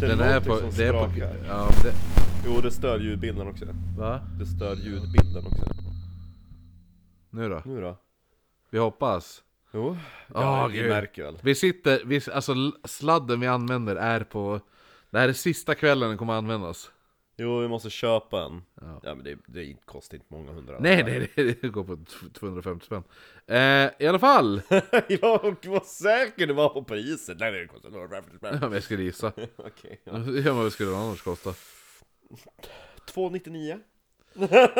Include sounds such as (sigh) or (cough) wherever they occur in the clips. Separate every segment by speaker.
Speaker 1: Det
Speaker 2: Den
Speaker 1: är
Speaker 2: här
Speaker 1: någonting
Speaker 2: på,
Speaker 1: som
Speaker 2: det är på,
Speaker 1: sprakar.
Speaker 2: ja, det,
Speaker 1: liksom Jo, det stör ljudbilden också.
Speaker 2: va?
Speaker 1: Det stör ljudbilden också.
Speaker 2: Nu då?
Speaker 1: Nu då?
Speaker 2: Vi hoppas.
Speaker 1: Jo,
Speaker 2: Ah,
Speaker 1: ja, vi
Speaker 2: gud.
Speaker 1: märker väl.
Speaker 2: Vi sitter, vi, alltså l- sladden vi använder är på... Det här är sista kvällen den kommer användas.
Speaker 1: Jo, vi måste köpa en.
Speaker 2: Ja.
Speaker 1: Ja, men det, det kostar inte många hundra.
Speaker 2: Nej, nej, nej, (laughs) det går på t- 250 spänn. Eh, I
Speaker 1: (laughs)
Speaker 2: alla fall!
Speaker 1: jag var säker du var på priset. Nej, det kostar några rafflers
Speaker 2: Ja, (laughs)
Speaker 1: men.
Speaker 2: men jag skulle gissa.
Speaker 1: Okej. ja.
Speaker 2: Hur ja, men vad skulle det annars kosta?
Speaker 1: 299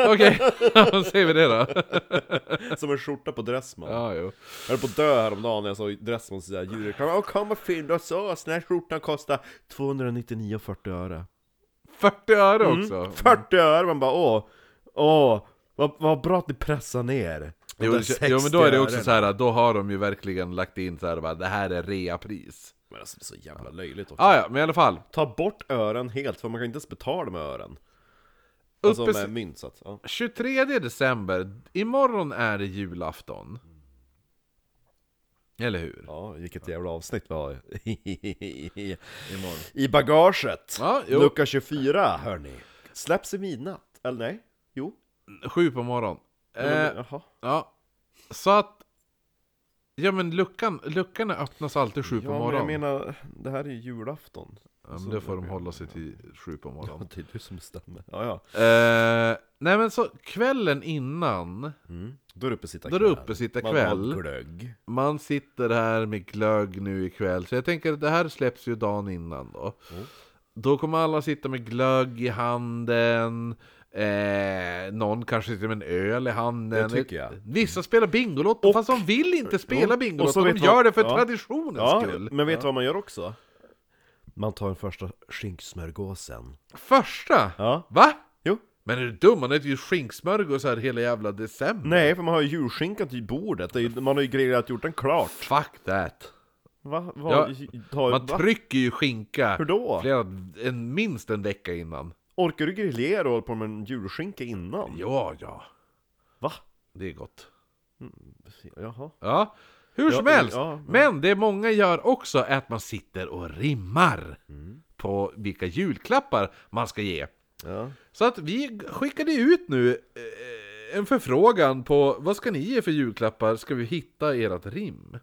Speaker 2: Okej, (laughs) då säger vi det då.
Speaker 1: Som en skjorta på Dressman.
Speaker 2: Ja, jo.
Speaker 1: Jag höll på att dö häromdagen när jag såg Dressmans så där djurreklam. Åh, kom och fynda hos oss! Den här skjortan kostar 299,40 öre.
Speaker 2: 40 öre
Speaker 1: Mm.
Speaker 2: också!
Speaker 1: (laughs) 40 öre! Man bara åh, åh, vad, vad bra att ni pressar ner. De
Speaker 2: Jo,
Speaker 1: där
Speaker 2: det-
Speaker 1: 60
Speaker 2: jo men då är det också
Speaker 1: örena.
Speaker 2: så här, då har de ju verkligen lagt in så här, bara, det här är reapris.
Speaker 1: Men alltså, det är så jävla löjligt också.
Speaker 2: Ah, ja, men i alla fall.
Speaker 1: Ta bort ören helt, för man kan inte ens betala med ören. Alltså
Speaker 2: Uppe,
Speaker 1: med mynt så att, ja.
Speaker 2: 23 december, imorgon är det julafton. Eller hur?
Speaker 1: ja, vilket jävla avsnitt vi (laughs) har i-
Speaker 2: Imorgon.
Speaker 1: i bagaget.
Speaker 2: Ja, jo.
Speaker 1: Lucka 24 hörni. Släpps i midnatt, eller nej? Jo.
Speaker 2: Sju på morgon. Eh,
Speaker 1: Jaha.
Speaker 2: ja. Så att... Ja men luckan, luckan öppnas alltid sju på
Speaker 1: Ja, men
Speaker 2: morgonen.
Speaker 1: jag menar, det här är ju julafton.
Speaker 2: ja, men då får de hålla sig till sju på morgonen.
Speaker 1: det är du som bestämmer. Ja, ja.
Speaker 2: Eh, nej men så kvällen innan,
Speaker 1: Mm. Då är det uppe sitta
Speaker 2: då är det uppe sitta kväll.
Speaker 1: Man har glögg.
Speaker 2: Man sitter här med glögg nu ikväll, så jag tänker att det här släpps ju dagen innan då.
Speaker 1: Mm.
Speaker 2: Då kommer alla sitta med glögg i handen, eh, någon kanske sitter med en öl i handen.
Speaker 1: Det tycker jag.
Speaker 2: Vissa spelar Bingolotto,
Speaker 1: Och-
Speaker 2: fast de vill inte spela
Speaker 1: Jo, och
Speaker 2: Bingolotto,
Speaker 1: så
Speaker 2: de
Speaker 1: vet
Speaker 2: gör
Speaker 1: vad-
Speaker 2: det för
Speaker 1: ja.
Speaker 2: traditionens skull.
Speaker 1: men vet du vad man gör också? Man tar den första skinksmörgåsen.
Speaker 2: Första!
Speaker 1: Ja.
Speaker 2: Va?
Speaker 1: Jo.
Speaker 2: Men är du dum? Man äter ju skinksmörgås här hela jävla december.
Speaker 1: Nej, för man har ju julskinkan till bordet. Det är, ju- man har ju grillat gjort den klart.
Speaker 2: Fuck that!
Speaker 1: Va? Va?
Speaker 2: Ja,
Speaker 1: ta,
Speaker 2: Man
Speaker 1: va?
Speaker 2: trycker ju skinka
Speaker 1: Hur då?
Speaker 2: Flera, en, minst en vecka innan.
Speaker 1: Orkar du grillera och hålla på med en julskinka innan?
Speaker 2: Ja, ja.
Speaker 1: Va?
Speaker 2: Det är gott.
Speaker 1: Jaha.
Speaker 2: Ja, hur
Speaker 1: Ja,
Speaker 2: som helst.
Speaker 1: ja, ja.
Speaker 2: Men det många gör också är att man sitter och rimmar på vilka julklappar man ska ge.
Speaker 1: Ja.
Speaker 2: Så att vi skickade ut nu eh, en förfrågan på vad ska ni ge för julklappar? Ska vi hitta ert rim?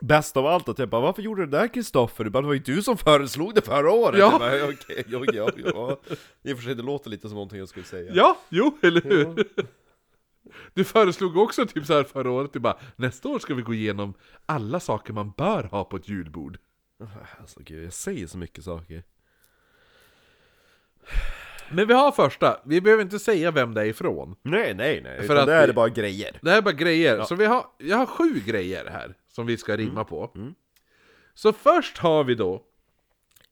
Speaker 1: Bäst av allt att jag bara, varför gjorde du det där Kristoffer? Du bara, det var ju du som föreslog det förra året!
Speaker 2: Ja.
Speaker 1: Jag bara, okej, ja, ja, ja. I och för sig, det låter lite som någonting jag skulle säga.
Speaker 2: Ja, jo, eller hur? Du föreslog också typ så här förra året, du bara nästa år ska vi gå igenom alla saker man bör ha på ett julbord.
Speaker 1: Alltså gud, jag säger så mycket saker.
Speaker 2: Men vi har första, vi behöver inte säga vem det är ifrån.
Speaker 1: Nej, nej, nej.
Speaker 2: För
Speaker 1: För
Speaker 2: att
Speaker 1: att där är
Speaker 2: vi-
Speaker 1: det bara grejer.
Speaker 2: Det här är bara grejer, så vi har, jag har sju grejer här som vi ska rimma på. Så först har vi då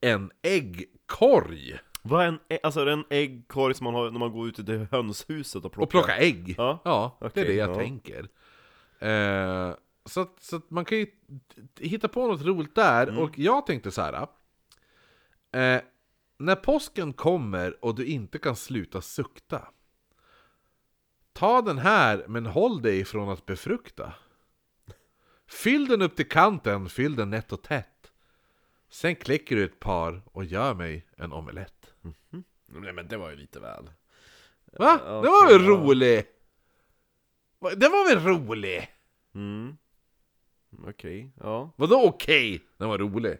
Speaker 2: en äggkorg
Speaker 1: Vad är en, ä- alltså är det en äggkorg som man har när man går ut i det hönshuset och plockar?
Speaker 2: och plocka ägg.
Speaker 1: Ja.
Speaker 2: det är
Speaker 1: Okej,
Speaker 2: det jag
Speaker 1: ja.
Speaker 2: tänker. Eh, så att, så att man kan ju t- t- hitta på något roligt där,
Speaker 1: Mm.
Speaker 2: och jag tänkte så här. Eh, när påsken kommer och du inte kan sluta sukta. Ta den här, men håll dig från att befrukta. Fyll den upp till kanten, fyll den nätt och tätt. Sen kläcker du ett par och gör mig en omelett.
Speaker 1: Nej men det var ju lite väl.
Speaker 2: Va?
Speaker 1: Ja,
Speaker 2: det var väl
Speaker 1: okej, ja.
Speaker 2: rolig? Va, Det var väl rolig?
Speaker 1: Mm. Okej, ja. (laughs)
Speaker 2: Vadå okej? Den var rolig.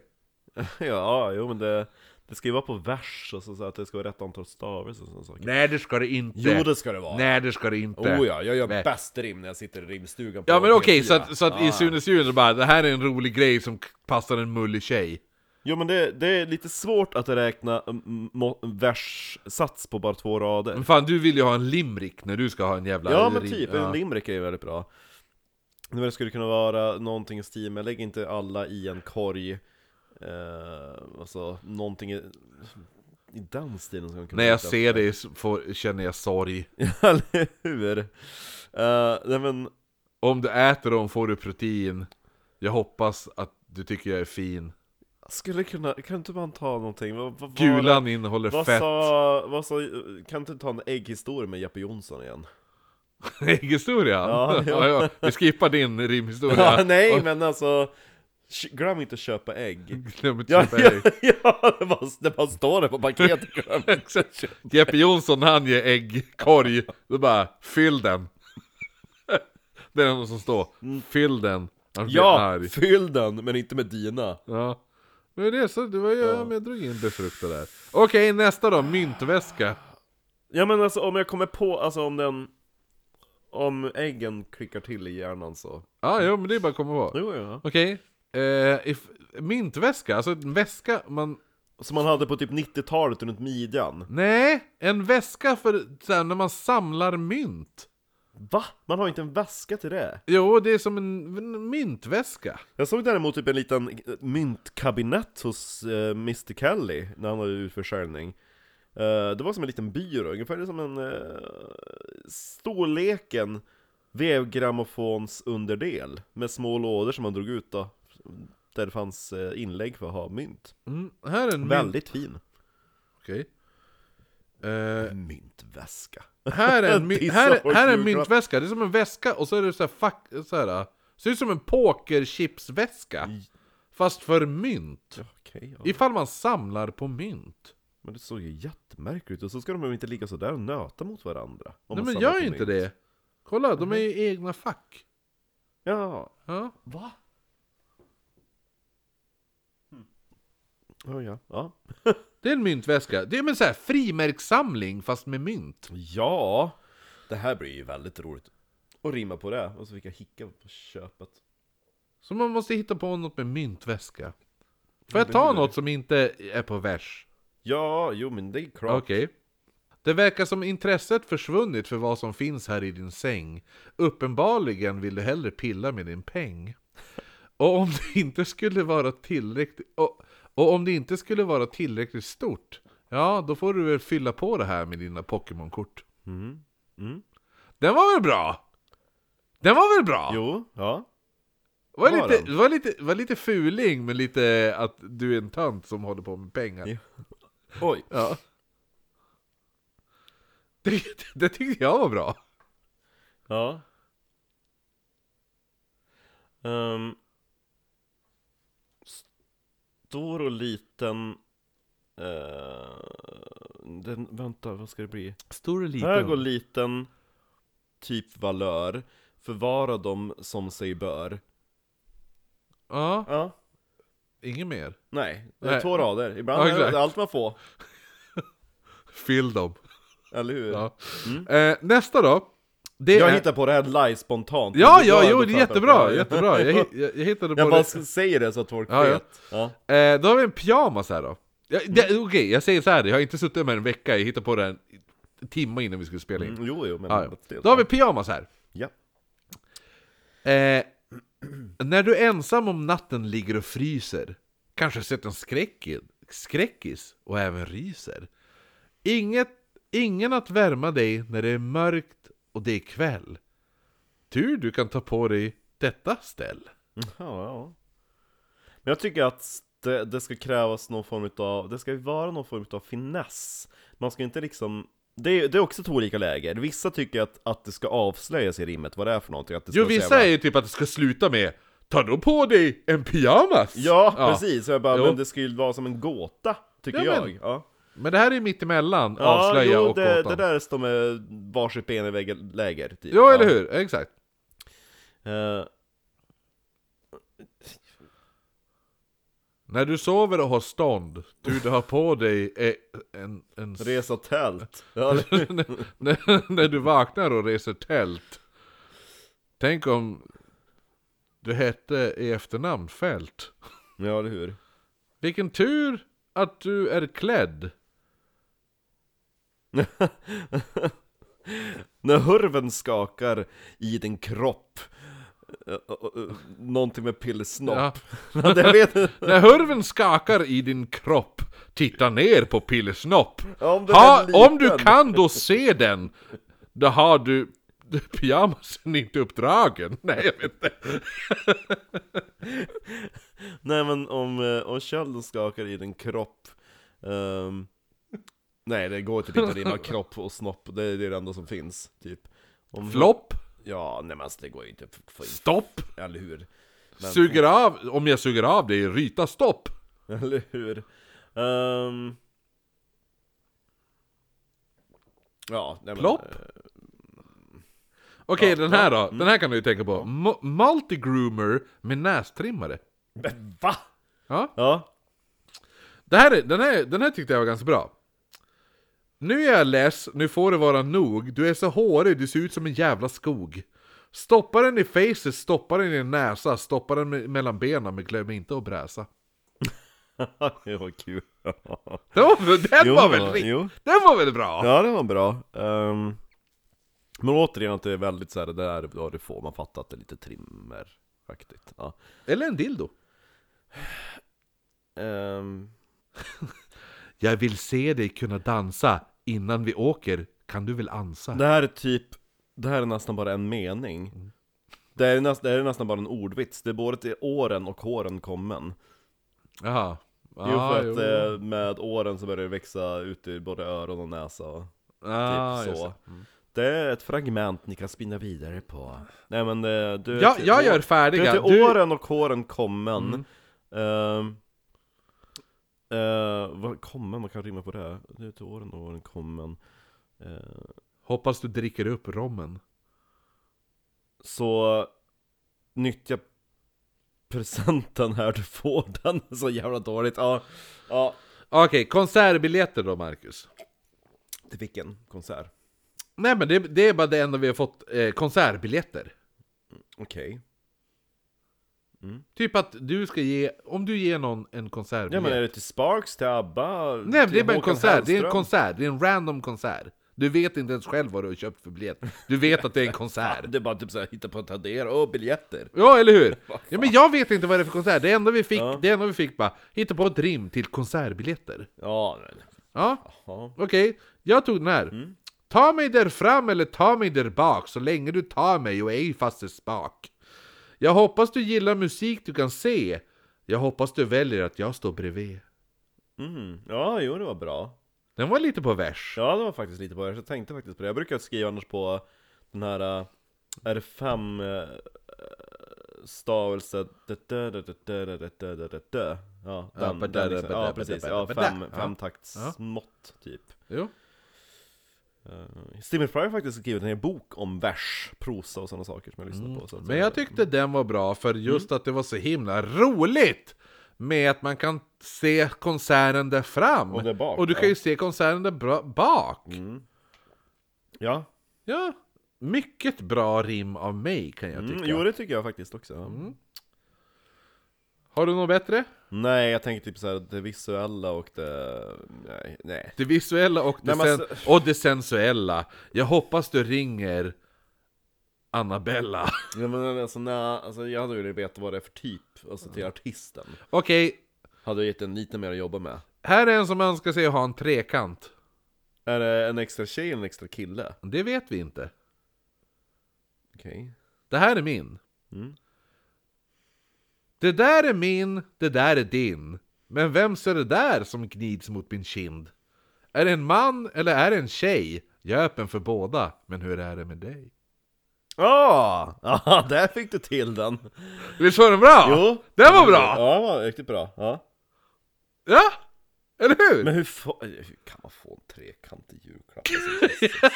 Speaker 1: ja, jo men det, det ska ju vara på vers och så, så att det ska vara rätt antal stavelser och sådana saker.
Speaker 2: Nej det ska det inte.
Speaker 1: Jo, det ska det vara.
Speaker 2: Nej det ska det inte.
Speaker 1: Oh ja, jag gör
Speaker 2: Nej.
Speaker 1: bäst rim när jag sitter i rimstugan på
Speaker 2: Ja men
Speaker 1: P4.
Speaker 2: okej, så att, så att i
Speaker 1: Ja.
Speaker 2: Sunes jul så bara, det här är en rolig grej som k- passar en mullig tjej.
Speaker 1: Jo men det, det är lite svårt att räkna mm, må- verssats på bara två rader
Speaker 2: Men fan du vill ju ha en limrik när du ska ha en jävla
Speaker 1: Ja men
Speaker 2: rim-
Speaker 1: typ,
Speaker 2: ja.
Speaker 1: en limerick är ju väldigt bra Men det skulle kunna vara någonting i stil med, lägg inte alla i en korg eh, Alltså, någonting i, i den stilen som kunna
Speaker 2: När jag
Speaker 1: hitta.
Speaker 2: ser dig så får, känner jag sorg.
Speaker 1: (laughs) Eller hur? Eh, nej men,
Speaker 2: Om du äter dem får du protein. Jag hoppas att du tycker jag är fin.
Speaker 1: Skulle kunna, kan inte man ta någonting? Vad, vad, var det-
Speaker 2: Gulan innehåller
Speaker 1: vad
Speaker 2: fett.
Speaker 1: sa, vad sa, kan inte ta en ägghistoria med Jeppe Jonsson
Speaker 2: (laughs)
Speaker 1: igen?
Speaker 2: Ägghistoria?
Speaker 1: Ja,
Speaker 2: (laughs) Ja,
Speaker 1: ja.
Speaker 2: ja. Vi skippar din rimhistoria.
Speaker 1: Ja, (laughs) nej
Speaker 2: Och
Speaker 1: men alltså, sh- glöm inte att köpa
Speaker 2: (laughs)
Speaker 1: ägg.
Speaker 2: glöm inte
Speaker 1: Ja,
Speaker 2: köpa
Speaker 1: (laughs) ja,
Speaker 2: ägg.
Speaker 1: ja det, bara, det bara står det på paketet,
Speaker 2: (laughs)
Speaker 1: (laughs) glöm inte att köpa
Speaker 2: Jeppe Jonsson när han ger äggkorg, då bara fyll den. (laughs) Det är någon som står, fyll den. Han blir
Speaker 1: Mm. Ja,
Speaker 2: arg.
Speaker 1: fyll den, men inte med dina.
Speaker 2: ja. Men det, är så, det var ju, ja. men jag drog in befruktad där. Okej, nästa då, myntväska.
Speaker 1: Ja men alltså om jag kommer på, alltså om den... Om äggen klickar till i hjärnan så...
Speaker 2: Ja, jo, men det är bara att komma på.
Speaker 1: Jo, ja.
Speaker 2: Okej, eh, if- myntväska, alltså en väska man
Speaker 1: Som man hade på typ 90-talet runt midjan.
Speaker 2: Nej, en väska för så här, när man samlar mynt.
Speaker 1: Va? Man har inte en väska till det?
Speaker 2: Jo, det är som en, en myntväska.
Speaker 1: Jag såg däremot typ en liten eh, myntkabinett hos eh, Mr Kelly när han hade utförsäljning. Eh, det var som en liten byrå, ungefär som en... Uh, storleken vevgrammofons underdel med små lådor som man drog ut då. Där det fanns eh, inlägg för att ha mynt.
Speaker 2: Mm, här är en mynt.
Speaker 1: Väldigt fin.
Speaker 2: Okej. Eh,
Speaker 1: Myntväska.
Speaker 2: här är en, my-
Speaker 1: Dissa
Speaker 2: här, är-
Speaker 1: folk
Speaker 2: här är en
Speaker 1: julklapp.
Speaker 2: myntväska, det är som en väska och så är det så här, fuck, så här eh, ser ut som en pokerchipsväska. Fast för mynt.
Speaker 1: (laughs) Okej, ja.
Speaker 2: Ifall man samlar på mynt.
Speaker 1: Men det såg ju jättemärkligt ut, och så ska de ju inte ligga sådär och nöta mot varandra om man
Speaker 2: Nej men
Speaker 1: samlar
Speaker 2: gör
Speaker 1: på
Speaker 2: inte
Speaker 1: mynt. Mhm.
Speaker 2: det. Kolla, de är i egna fack.
Speaker 1: Ja,
Speaker 2: Ja.
Speaker 1: va? Hm. Oh, ja, ja.
Speaker 2: Det är en myntväska. Det är men så här frimärkssamling fast med mynt.
Speaker 1: ja, det här blir ju väldigt roligt Och rimma på det, och så fick jag hicka på köpet
Speaker 2: Så man måste hitta på något med myntväska. Får jag ta något som inte är på vers?
Speaker 1: Ja, jo men det är klart
Speaker 2: Okej. Det verkar som intresset försvunnit för vad som finns här i din säng. Uppenbarligen vill du hellre pilla med din peng. Och om det inte skulle vara tillräckligt... Och, och om det inte skulle vara tillräckligt stort, ja då får du väl fylla på det här med dina Pokémon-kort.
Speaker 1: Mm.
Speaker 2: Den var väl bra? Den var väl bra?
Speaker 1: Jo, ja
Speaker 2: Var
Speaker 1: Var
Speaker 2: lite,
Speaker 1: den?
Speaker 2: var, lite, var lite fuling, men lite att du är en tönt som håller på med pengar.
Speaker 1: Ja. Oj,
Speaker 2: Ja. Det, det tyckte jag var bra.
Speaker 1: ja Ehm, Stor och liten eh, den, Vänta, vad ska det bli?
Speaker 2: Stor och
Speaker 1: Hög och liten typ valör Förvara dem som sig bör
Speaker 2: Ja,
Speaker 1: Ja
Speaker 2: inget mer.
Speaker 1: Nej, det är
Speaker 2: Nej.
Speaker 1: två rader, ibland
Speaker 2: Ja,
Speaker 1: är det-
Speaker 2: exakt.
Speaker 1: det är allt man får,
Speaker 2: Fyll dem.
Speaker 1: eller hur?
Speaker 2: Ja. Eh, nästa då. Det
Speaker 1: Jag
Speaker 2: är...
Speaker 1: hittar på det här live spontant
Speaker 2: Ja,
Speaker 1: Det
Speaker 2: ja,
Speaker 1: går
Speaker 2: jo,
Speaker 1: ändå
Speaker 2: det är
Speaker 1: för-
Speaker 2: jättebra, jättebra.
Speaker 1: (laughs)
Speaker 2: Jag, hi- jag, jag hittade på
Speaker 1: Jag bara
Speaker 2: det.
Speaker 1: säger det så att folk
Speaker 2: Ja, ja.
Speaker 1: vet ja.
Speaker 2: Eh, då har vi en pyjamas här då. Ja, det- Okej, jag säger så här. jag har inte suttit med en vecka, jag hittade på den en timme innan vi skulle spela in.
Speaker 1: Mm, Jo, jo, men
Speaker 2: Ja,
Speaker 1: att
Speaker 2: ja.
Speaker 1: det-
Speaker 2: Då har vi pyjamas här.
Speaker 1: ja.
Speaker 2: Eh, när du ensam om natten ligger och fryser, kanske sett en skräckid, skräckis och även ryser. Inget, ingen att värma dig när det är mörkt och det är kväll. Tur du kan ta på dig detta ställ.
Speaker 1: Ja, ja. Men jag tycker att det, det ska krävas någon form av, det ska ju vara någon form av finess. Man ska inte liksom, det, är- det är också två olika läger. Vissa tycker att, att det ska avslöjas i rimmet vad det är för någonting. Att det ska
Speaker 2: Jo,
Speaker 1: vara så
Speaker 2: vissa
Speaker 1: jävla-
Speaker 2: är ju typ att det ska sluta med Ta då på dig en pyjamas!
Speaker 1: Ja, precis. Så jag bara,
Speaker 2: Jo.
Speaker 1: men det ska ju vara som en gåta, tycker
Speaker 2: Ja,
Speaker 1: jag.
Speaker 2: men-
Speaker 1: Ja.
Speaker 2: Men det här är ju mittemellan, avslöja
Speaker 1: ja, jo,
Speaker 2: och
Speaker 1: det,
Speaker 2: gåtan.
Speaker 1: det där står med varsitt ben i väggen- läger. Typ.
Speaker 2: Jo, eller
Speaker 1: Ja.
Speaker 2: hur? Exakt.
Speaker 1: Eh,
Speaker 2: När du sover och har stånd, du, du har på dig eh, en, en
Speaker 1: resa tält.
Speaker 2: (laughs)
Speaker 1: Ja, eller-
Speaker 2: när, när du vaknar och reser tält. Tänk om du hette i efternamn Fält.
Speaker 1: ja, eller hur?
Speaker 2: Vilken tur att du är klädd.
Speaker 1: När hurven skakar i din kropp Eh, eh, eh, Någonting med pillsnopp
Speaker 2: Ja.
Speaker 1: ja. (laughs) Jag vet inte
Speaker 2: När hurven skakar i din kropp, titta ner på pillesnopp.
Speaker 1: om den
Speaker 2: Ha,
Speaker 1: är liten.
Speaker 2: om du kan då se den, då har du, pyjamasen är inte uppdragen. Nej, jag vet inte.
Speaker 1: Nej men om, eh, om kölden skakar i din kropp ehm, Nej det går typ inte att rimma
Speaker 2: (laughs)
Speaker 1: kropp och snopp, det är det enda som finns typ om,
Speaker 2: Flopp,
Speaker 1: Ja nej men alltså det går ju inte att få in,
Speaker 2: stopp,
Speaker 1: eller hur? (laughs)
Speaker 2: suger av, om jag suger av dig, ryta stopp.
Speaker 1: Eller hur? Ehm. Ja, nej men,
Speaker 2: Plopp?
Speaker 1: eh,
Speaker 2: Eh, Okej,
Speaker 1: Ja, Mm.
Speaker 2: den här då. Den här kan du ju tänka på. Mu- Multigroomer med nästrimmare.
Speaker 1: Men va?
Speaker 2: Ja.
Speaker 1: Ja,
Speaker 2: Det här är, den, här, den här tyckte jag var ganska bra. Nu är jag less, nu får det vara nog. Du är så hårig, du ser ut som en jävla skog. Stoppa den i facet, stoppa den i din näsa, stoppa den me- mellan benen, men glöm inte att bräsa.
Speaker 1: (laughs) det var kul
Speaker 2: Den var, den
Speaker 1: Jo,
Speaker 2: var, väl, ri-
Speaker 1: jo.
Speaker 2: den var väl bra?
Speaker 1: Ja det var bra Ehm, Men återigen att det är väldigt såhär, det där då du får man fattar att det är lite trimmeraktigt ja.
Speaker 2: Eller en dildo.
Speaker 1: Ehm,
Speaker 2: Jag vill se dig kunna dansa. Innan vi åker kan du väl ansa?
Speaker 1: Det här är typ, det här är nästan bara en mening
Speaker 2: Mm.
Speaker 1: det här, är näst, det här är nästan bara en ordvits, det är både till åren och håren kommen
Speaker 2: Jaha.
Speaker 1: Jo för
Speaker 2: Ah,
Speaker 1: att eh, med åren så börjar det växa ut i både öron och näsa och
Speaker 2: Ah,
Speaker 1: typ
Speaker 2: just
Speaker 1: så
Speaker 2: det.
Speaker 1: Det är ett fragment ni kan spinna vidare på Nej men eh, du är
Speaker 2: Ja,
Speaker 1: till
Speaker 2: jag
Speaker 1: år-
Speaker 2: gör
Speaker 1: Du är
Speaker 2: färdiga.
Speaker 1: till
Speaker 2: Du- Mm.
Speaker 1: åren och håren kommen Ehm, eh, vad kommer man kan rimma på det? Du är till åren och åren kommen Eh,
Speaker 2: Hoppas du dricker upp rommen.
Speaker 1: Så nyttja presenten här du får den (laughs) är så jävla dåligt Ja, ja
Speaker 2: Okej, konsertbiljetter då Marcus.
Speaker 1: Till vilken konsert?
Speaker 2: Nej men det, det är bara det enda vi har fått, eh, konsertbiljetter.
Speaker 1: Okej
Speaker 2: Typ att du ska ge, om du ger någon en
Speaker 1: Ja
Speaker 2: konsertbiljett.
Speaker 1: men är det till Sparks, till ABBA?
Speaker 2: Nej men
Speaker 1: till
Speaker 2: det är bara en
Speaker 1: Håkan
Speaker 2: konsert, det är en
Speaker 1: Hellström?
Speaker 2: konsert, det är en random konsert. Du vet inte ens själv vad du har köpt för biljett. Du vet att det är en konsert.
Speaker 1: Det är bara typ såhär, hitta på att Tradera, och biljetter!
Speaker 2: Ja, eller hur? Ja, men jag vet inte vad det är för konsert. Det enda vi fick, det enda vi fick bara, hitta på ett rim till konsertbiljetter.
Speaker 1: Ja, men,
Speaker 2: Ja,
Speaker 1: ja.
Speaker 2: okej. Jag tog den här.
Speaker 1: Mm.
Speaker 2: Ta mig där fram eller ta mig där bak, så länge du tar mig och ej fast i spak. Jag hoppas du gillar musik du kan se. Jag hoppas du väljer att jag står bredvid.
Speaker 1: Mm. ja, jo det var bra
Speaker 2: Den var lite på vers.
Speaker 1: Ja, det var faktiskt lite på det. Jag tänkte faktiskt på det. Jag brukar skriva annars på den här eh, R5 eh, stavelse Ja, den, den liksom. ja precis. Ja, fem, fem taktsmått typ.
Speaker 2: Jo.
Speaker 1: Eh, Stephen Fry har faktiskt skrivit en hel bok om vers, prosa och sådana saker som jag lyssnar på. Så att
Speaker 2: Mm. Men jag tyckte den var bra för
Speaker 1: Mm.
Speaker 2: just att det var så himla roligt med att man kan se konserten där fram.
Speaker 1: Och där bak,
Speaker 2: och du
Speaker 1: ja. Mm.
Speaker 2: kan ju se konserten där bra- bak.
Speaker 1: Ja,
Speaker 2: Ja. Mycket bra rim av mig kan jag Mm. tycka.
Speaker 1: mm, jo det tycker jag faktiskt också.
Speaker 2: Har du något bättre?
Speaker 1: Nej, jag tänker typ såhär det visuella och det... Nej, nej.
Speaker 2: Det visuella och
Speaker 1: Nej,
Speaker 2: det,
Speaker 1: men alltså-
Speaker 2: sen- och det sensuella. Jag hoppas du ringer Annabella. (laughs)
Speaker 1: Ja, men alltså, nej, alltså jag hade velat veta vad det är för typ, alltså
Speaker 2: Mm.
Speaker 1: till artisten
Speaker 2: Okej,
Speaker 1: Hade jag gett den lite mer att jobba med
Speaker 2: här är en som önskar sig att ha en trekant.
Speaker 1: Är det en extra tjej eller en extra kille?
Speaker 2: Det vet vi inte.
Speaker 1: Okej
Speaker 2: Det här är min.
Speaker 1: Mm.
Speaker 2: Det där är min, det där är din. Men vem är det där som gnids mot min kind? Är det en man eller är det en tjej? Jag är öppen för båda, men hur är det med dig?
Speaker 1: Ah! Ja, (laughs) där fick du till den!
Speaker 2: Visst var den bra?
Speaker 1: Jo!
Speaker 2: Den var bra!
Speaker 1: Ja, den var riktigt bra, ja
Speaker 2: Ja! Eller hur?
Speaker 1: Men hur, få, hur kan man få en trekantig julklapp?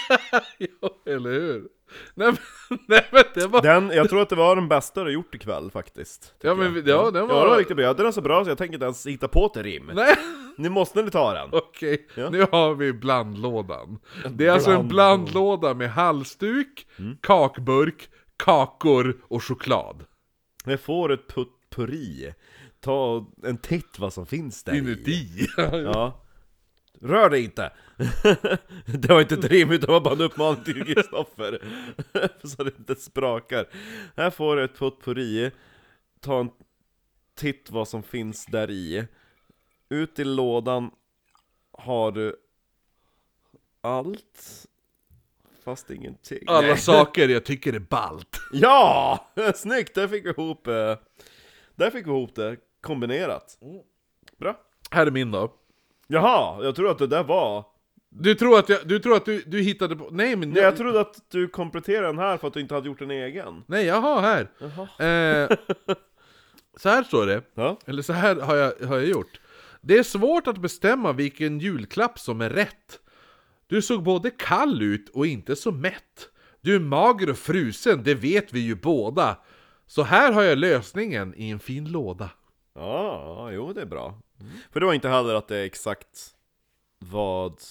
Speaker 2: (laughs) ja, eller hur? Nej men, (laughs) nej, men det
Speaker 1: (laughs)
Speaker 2: var...
Speaker 1: Den, jag tror att det var den bästa du har gjort ikväll faktiskt
Speaker 2: Ja, men vi- ja, den var-
Speaker 1: Ja, den var riktigt bra, jag hade den så bra så jag tänker inte ens hitta på ett rim
Speaker 2: (laughs) Nej!
Speaker 1: Nu måste ni ta den!
Speaker 2: Okej,
Speaker 1: Ja.
Speaker 2: nu har vi blandlådan. Det är alltså en
Speaker 1: blandlåda.
Speaker 2: blandlåda med halsduk, kakburk, kakor och choklad.
Speaker 1: Jag får ett potpurri Ta en titt vad som finns där i.
Speaker 2: Inuti. (laughs)
Speaker 1: Ja Rör dig inte! (laughs) det var inte ett rim utan det var bara en uppmaning till Kristoffer (laughs) Så det inte sprakar Här får du ett potpurri Ta en titt vad som finns där i Ut i lådan har du allt fast ingenting.
Speaker 2: Alla
Speaker 1: Nej.
Speaker 2: saker jag tycker är ballt.
Speaker 1: Ja! (laughs) Snyggt! Där fick vi ihop, eh, där fick vi ihop det kombinerat. Bra.
Speaker 2: Här är min då.
Speaker 1: Jaha, jag tror att det där var...
Speaker 2: Du tror att, jag, du, tror att du, du hittade på... Nej men...
Speaker 1: Nej, jag trodde att du kompletterade den här för att du inte hade gjort en egen.
Speaker 2: Nej, jag har här. Eh, så här står det.
Speaker 1: Ja.
Speaker 2: Eller så här har jag, har jag gjort. Det är svårt att bestämma vilken julklapp som är rätt. Du såg både kall ut och inte så mätt. Du är mager och frusen, det vet vi ju båda. Så här har jag lösningen i en fin låda.
Speaker 1: Ja, jo det är bra.
Speaker 2: Mm.
Speaker 1: För det var inte heller att det är exakt vad,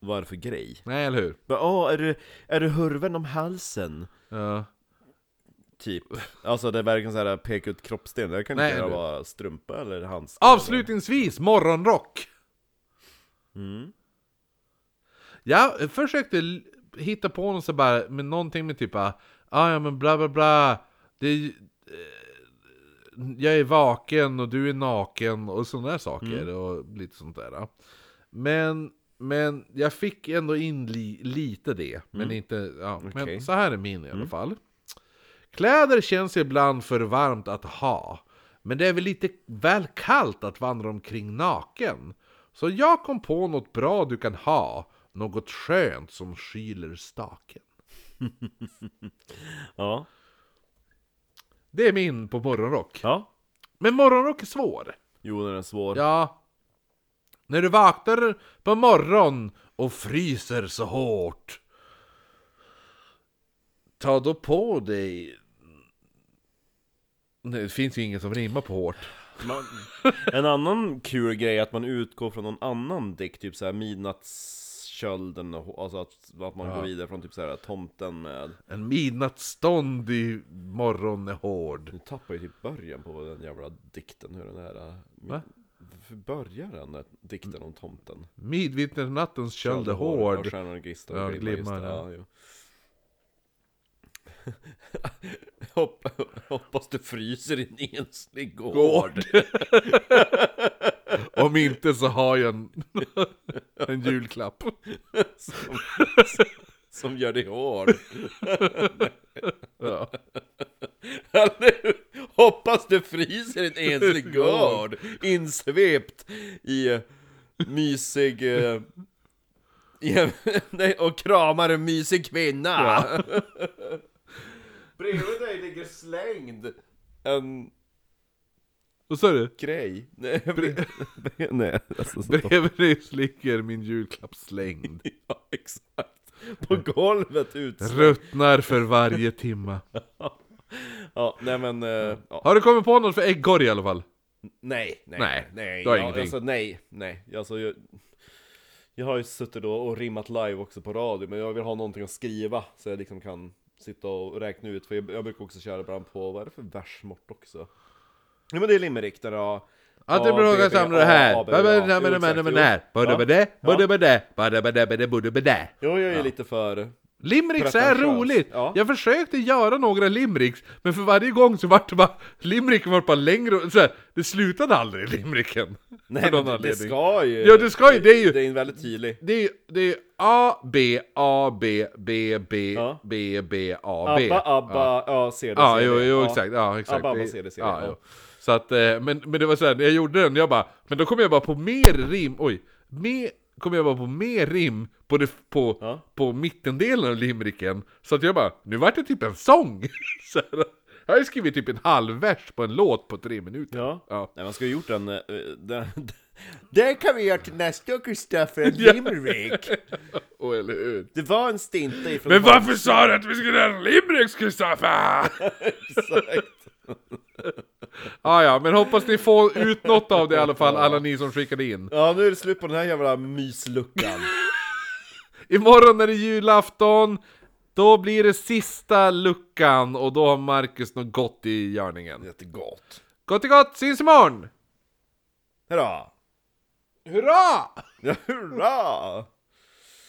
Speaker 1: vad är det för grej.
Speaker 2: Nej, eller hur?
Speaker 1: Bara, Åh, är du, är du hurven om halsen?
Speaker 2: Ja. (laughs)
Speaker 1: Typ. Alltså det är verkligen så här peka ut kroppsdelen, det kan
Speaker 2: Nej,
Speaker 1: inte
Speaker 2: du- Ah!
Speaker 1: vara strumpa eller handske.
Speaker 2: Avslutningsvis, morgonrock!
Speaker 1: Mm.
Speaker 2: Jag försökte l- hitta på något så bara, med någonting med typ ah, ja men bla bla bla det är, ju- eh, Jag är vaken och du är naken och sådana där saker
Speaker 1: Mm.
Speaker 2: och lite sånt där Men, men jag fick ändå in li, lite det Men inte, ja,
Speaker 1: Mm. Okej. Mm.
Speaker 2: men så här är min i alla fall Kläder känns ibland för varmt att ha Men det är väl lite väl kallt att vandra omkring naken Så jag kom på något bra du kan ha Något skönt som skyler staken
Speaker 1: Ja.
Speaker 2: Det är min på morgonrock
Speaker 1: Ja.
Speaker 2: Men morgonrock är svår
Speaker 1: Jo, den är svår.
Speaker 2: Ja När du vaknar på morgon och fryser så hårt Ta då på dig Nej, det finns ju ingen som rimmar på hårt
Speaker 1: Man, en annan kul grej är att man utgår från någon annan dikt, typ såhär midnattskölden, och- alltså att, att man går vidare från typ såhär tomten med...
Speaker 2: En midnattsstånd i morgon är hård.
Speaker 1: Nu tappar jag typ början på den jävla dikten, hur den här... äh, min-
Speaker 2: Va?
Speaker 1: Varför börjar den där dikten om tomten?
Speaker 2: Midvinternattens köld är
Speaker 1: Köldhår,
Speaker 2: hård.
Speaker 1: Stjärnor och gnistor
Speaker 2: Ja,
Speaker 1: och glimmar, just
Speaker 2: glimmar,
Speaker 1: det. Ja,
Speaker 2: ja.
Speaker 1: jo. (laughs) Hoppa, hoppas du fryser in i en snygg gård!
Speaker 2: Om inte så har jag en, (laughs) en julklapp.
Speaker 1: Som, som gör dig hård!
Speaker 2: Ja.
Speaker 1: Eller Hoppas du fryser i en enslig gård, insvept i eh, mysig... eh, i en- nej, och kramar en mysig kvinna! Bredvid dig ligger slängd en
Speaker 2: Vad sa du?
Speaker 1: grej. Nej, bre- nej alltså, så-
Speaker 2: Bredvid dig ligger min
Speaker 1: (laughs)
Speaker 2: julklapp slängd.
Speaker 1: ja, exakt. På golvet ut.
Speaker 2: Ruttnar för varje timma.
Speaker 1: Ja, nej men... eh, ja.
Speaker 2: Har du kommit på något för äggkorg i alla fall?
Speaker 1: Nej, nej,
Speaker 2: Nej,
Speaker 1: nej,
Speaker 2: då är
Speaker 1: ja,
Speaker 2: ingenting.
Speaker 1: Alltså, nej, nej. Alltså, jag, jag har ju suttit då och rimmat live också på radio, men jag vill ha någonting att skriva så jag liksom kan sitta och räkna ut, för jag, jag brukar också köra ibland på, vad är det för versmort också? Ja men det är limerick där jag...
Speaker 2: Att det blir något samlar det här. Badabadabadabadabadabadabadabadabadabadabadabadabadabadabadabadabadabadabadabadabadabadabadabadabadabadabadabadabadabadabadabadabadabadabadabadabadabadabadabadabadabadade.
Speaker 1: Jo, jag är lite för...
Speaker 2: Limericks
Speaker 1: Pretentiös.
Speaker 2: är roligt!
Speaker 1: Ja.
Speaker 2: Jag försökte göra några limericks, men för varje gång så vart det bara... Limericken vart bara längre och så här, Det slutade aldrig (laughs) limericken.
Speaker 1: Nej, men det, det ska ju...
Speaker 2: Ja, det ska ju, det är ju-
Speaker 1: Det är en väldigt tydlig...
Speaker 2: Det är ju det är ju A, B, A, B, B, B,
Speaker 1: Ja.
Speaker 2: B, B, A, B.
Speaker 1: Abba, abba, ja, ser du,
Speaker 2: Ja,
Speaker 1: ser
Speaker 2: jo,
Speaker 1: du.
Speaker 2: jo,
Speaker 1: Ja.
Speaker 2: exakt. Ja, exakt.
Speaker 1: Abba, abba,
Speaker 2: Det-
Speaker 1: ser du, ser du.
Speaker 2: ja,
Speaker 1: Ja.
Speaker 2: jo. Så att, eh, men, men det var såhär, när jag gjorde den, jag bara... Men då kom jag bara på mer rim, oj. Mer, kom jag bara på mer rim på, det, på,
Speaker 1: Ja.
Speaker 2: på mittendelen av limericken. Så att jag bara, nu vart det typ en sång! (laughs) så här, jag har ju skrivit typ en halv vers på en låt på tre minuter.
Speaker 1: Ja.
Speaker 2: Ja.
Speaker 1: Nej, man ska ha gjort en... eh, den, (laughs) det kan vi göra till nästa Kristoffer, en
Speaker 2: (laughs) Ja.
Speaker 1: limerick!
Speaker 2: Åh, eller hur?
Speaker 1: Det var en stinta ifrån...
Speaker 2: Men varför sa du att vi skulle göra
Speaker 1: (laughs)
Speaker 2: limericks, Kristoffer?
Speaker 1: Exakt.
Speaker 2: ah, ja, men hoppas ni får ut något av det i alla fall, alla ni som skickade in.
Speaker 1: Ja, nu är det slut på den här jävla
Speaker 2: (laughs)
Speaker 1: mysluckan.
Speaker 2: Imorgon är det julafton, då blir det sista luckan och då har Marcus något gott i görningen.
Speaker 1: Jättegott.
Speaker 2: Gott i gott, syns imorgon!
Speaker 1: Hurra!
Speaker 2: Hurra!
Speaker 1: Ja, hurra!